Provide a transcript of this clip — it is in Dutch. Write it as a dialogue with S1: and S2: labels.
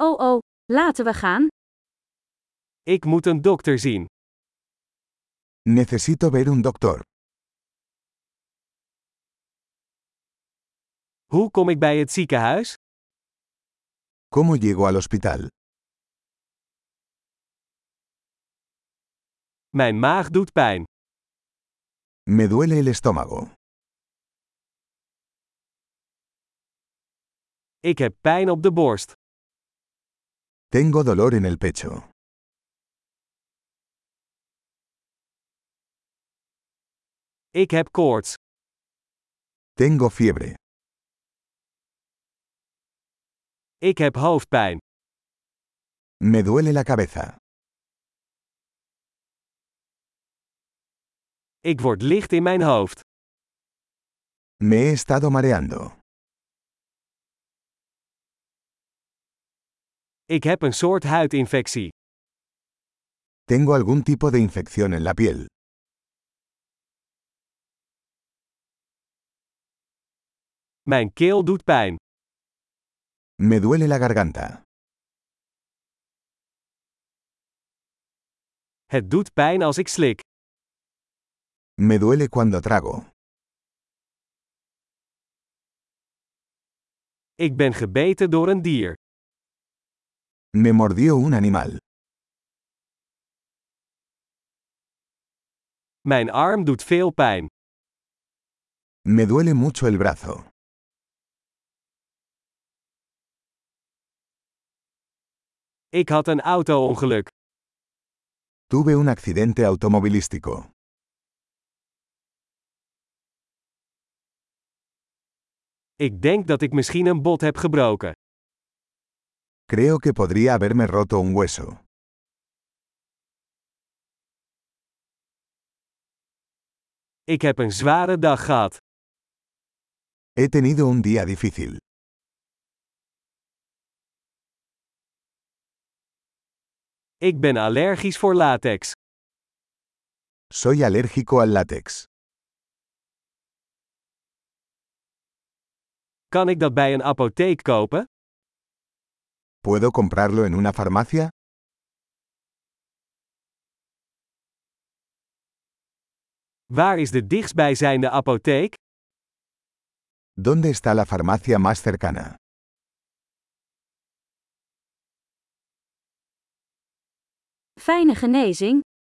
S1: Oh oh, laten we gaan.
S2: Ik moet een dokter zien.
S3: Necesito ver un doctor.
S2: Hoe kom ik bij het ziekenhuis?
S3: ¿Cómo llego al hospital?
S2: Mijn maag doet pijn.
S3: Me duele el estómago.
S2: Ik heb pijn op de borst.
S3: Tengo dolor en el pecho.
S2: Ik heb koorts.
S3: Tengo fiebre.
S2: Ik heb hoofdpijn.
S3: Me duele la cabeza.
S2: Ik word licht in mijn hoofd.
S3: Me he estado mareando.
S2: Ik heb een soort huidinfectie.
S3: Tengo algún tipo de infección en la piel.
S2: Mijn keel doet pijn.
S3: Me duele la garganta.
S2: Het doet pijn als ik slik.
S3: Me duele cuando trago.
S2: Ik ben gebeten door een dier.
S3: Me mordió un animal.
S2: Mijn arm doet veel pijn.
S3: Me duele mucho el brazo.
S2: Ik had een auto-ongeluk.
S3: Tuve un accidente automovilístico.
S2: Ik denk dat ik misschien een bot heb gebroken.
S3: Creo que podría haberme roto un hueso.
S2: Ik heb een zware dag gehad.
S3: He tenido un día difícil.
S2: Ik ben allergisch voor latex.
S3: Soy alérgico al látex.
S2: Kan ik dat bij een apotheek kopen?
S3: ¿Puedo comprarlo en una farmacia?
S2: Waar is de dichtstbijzijnde apotheek?
S3: ¿Dónde está la farmacia más cercana?
S1: Fijne genezing.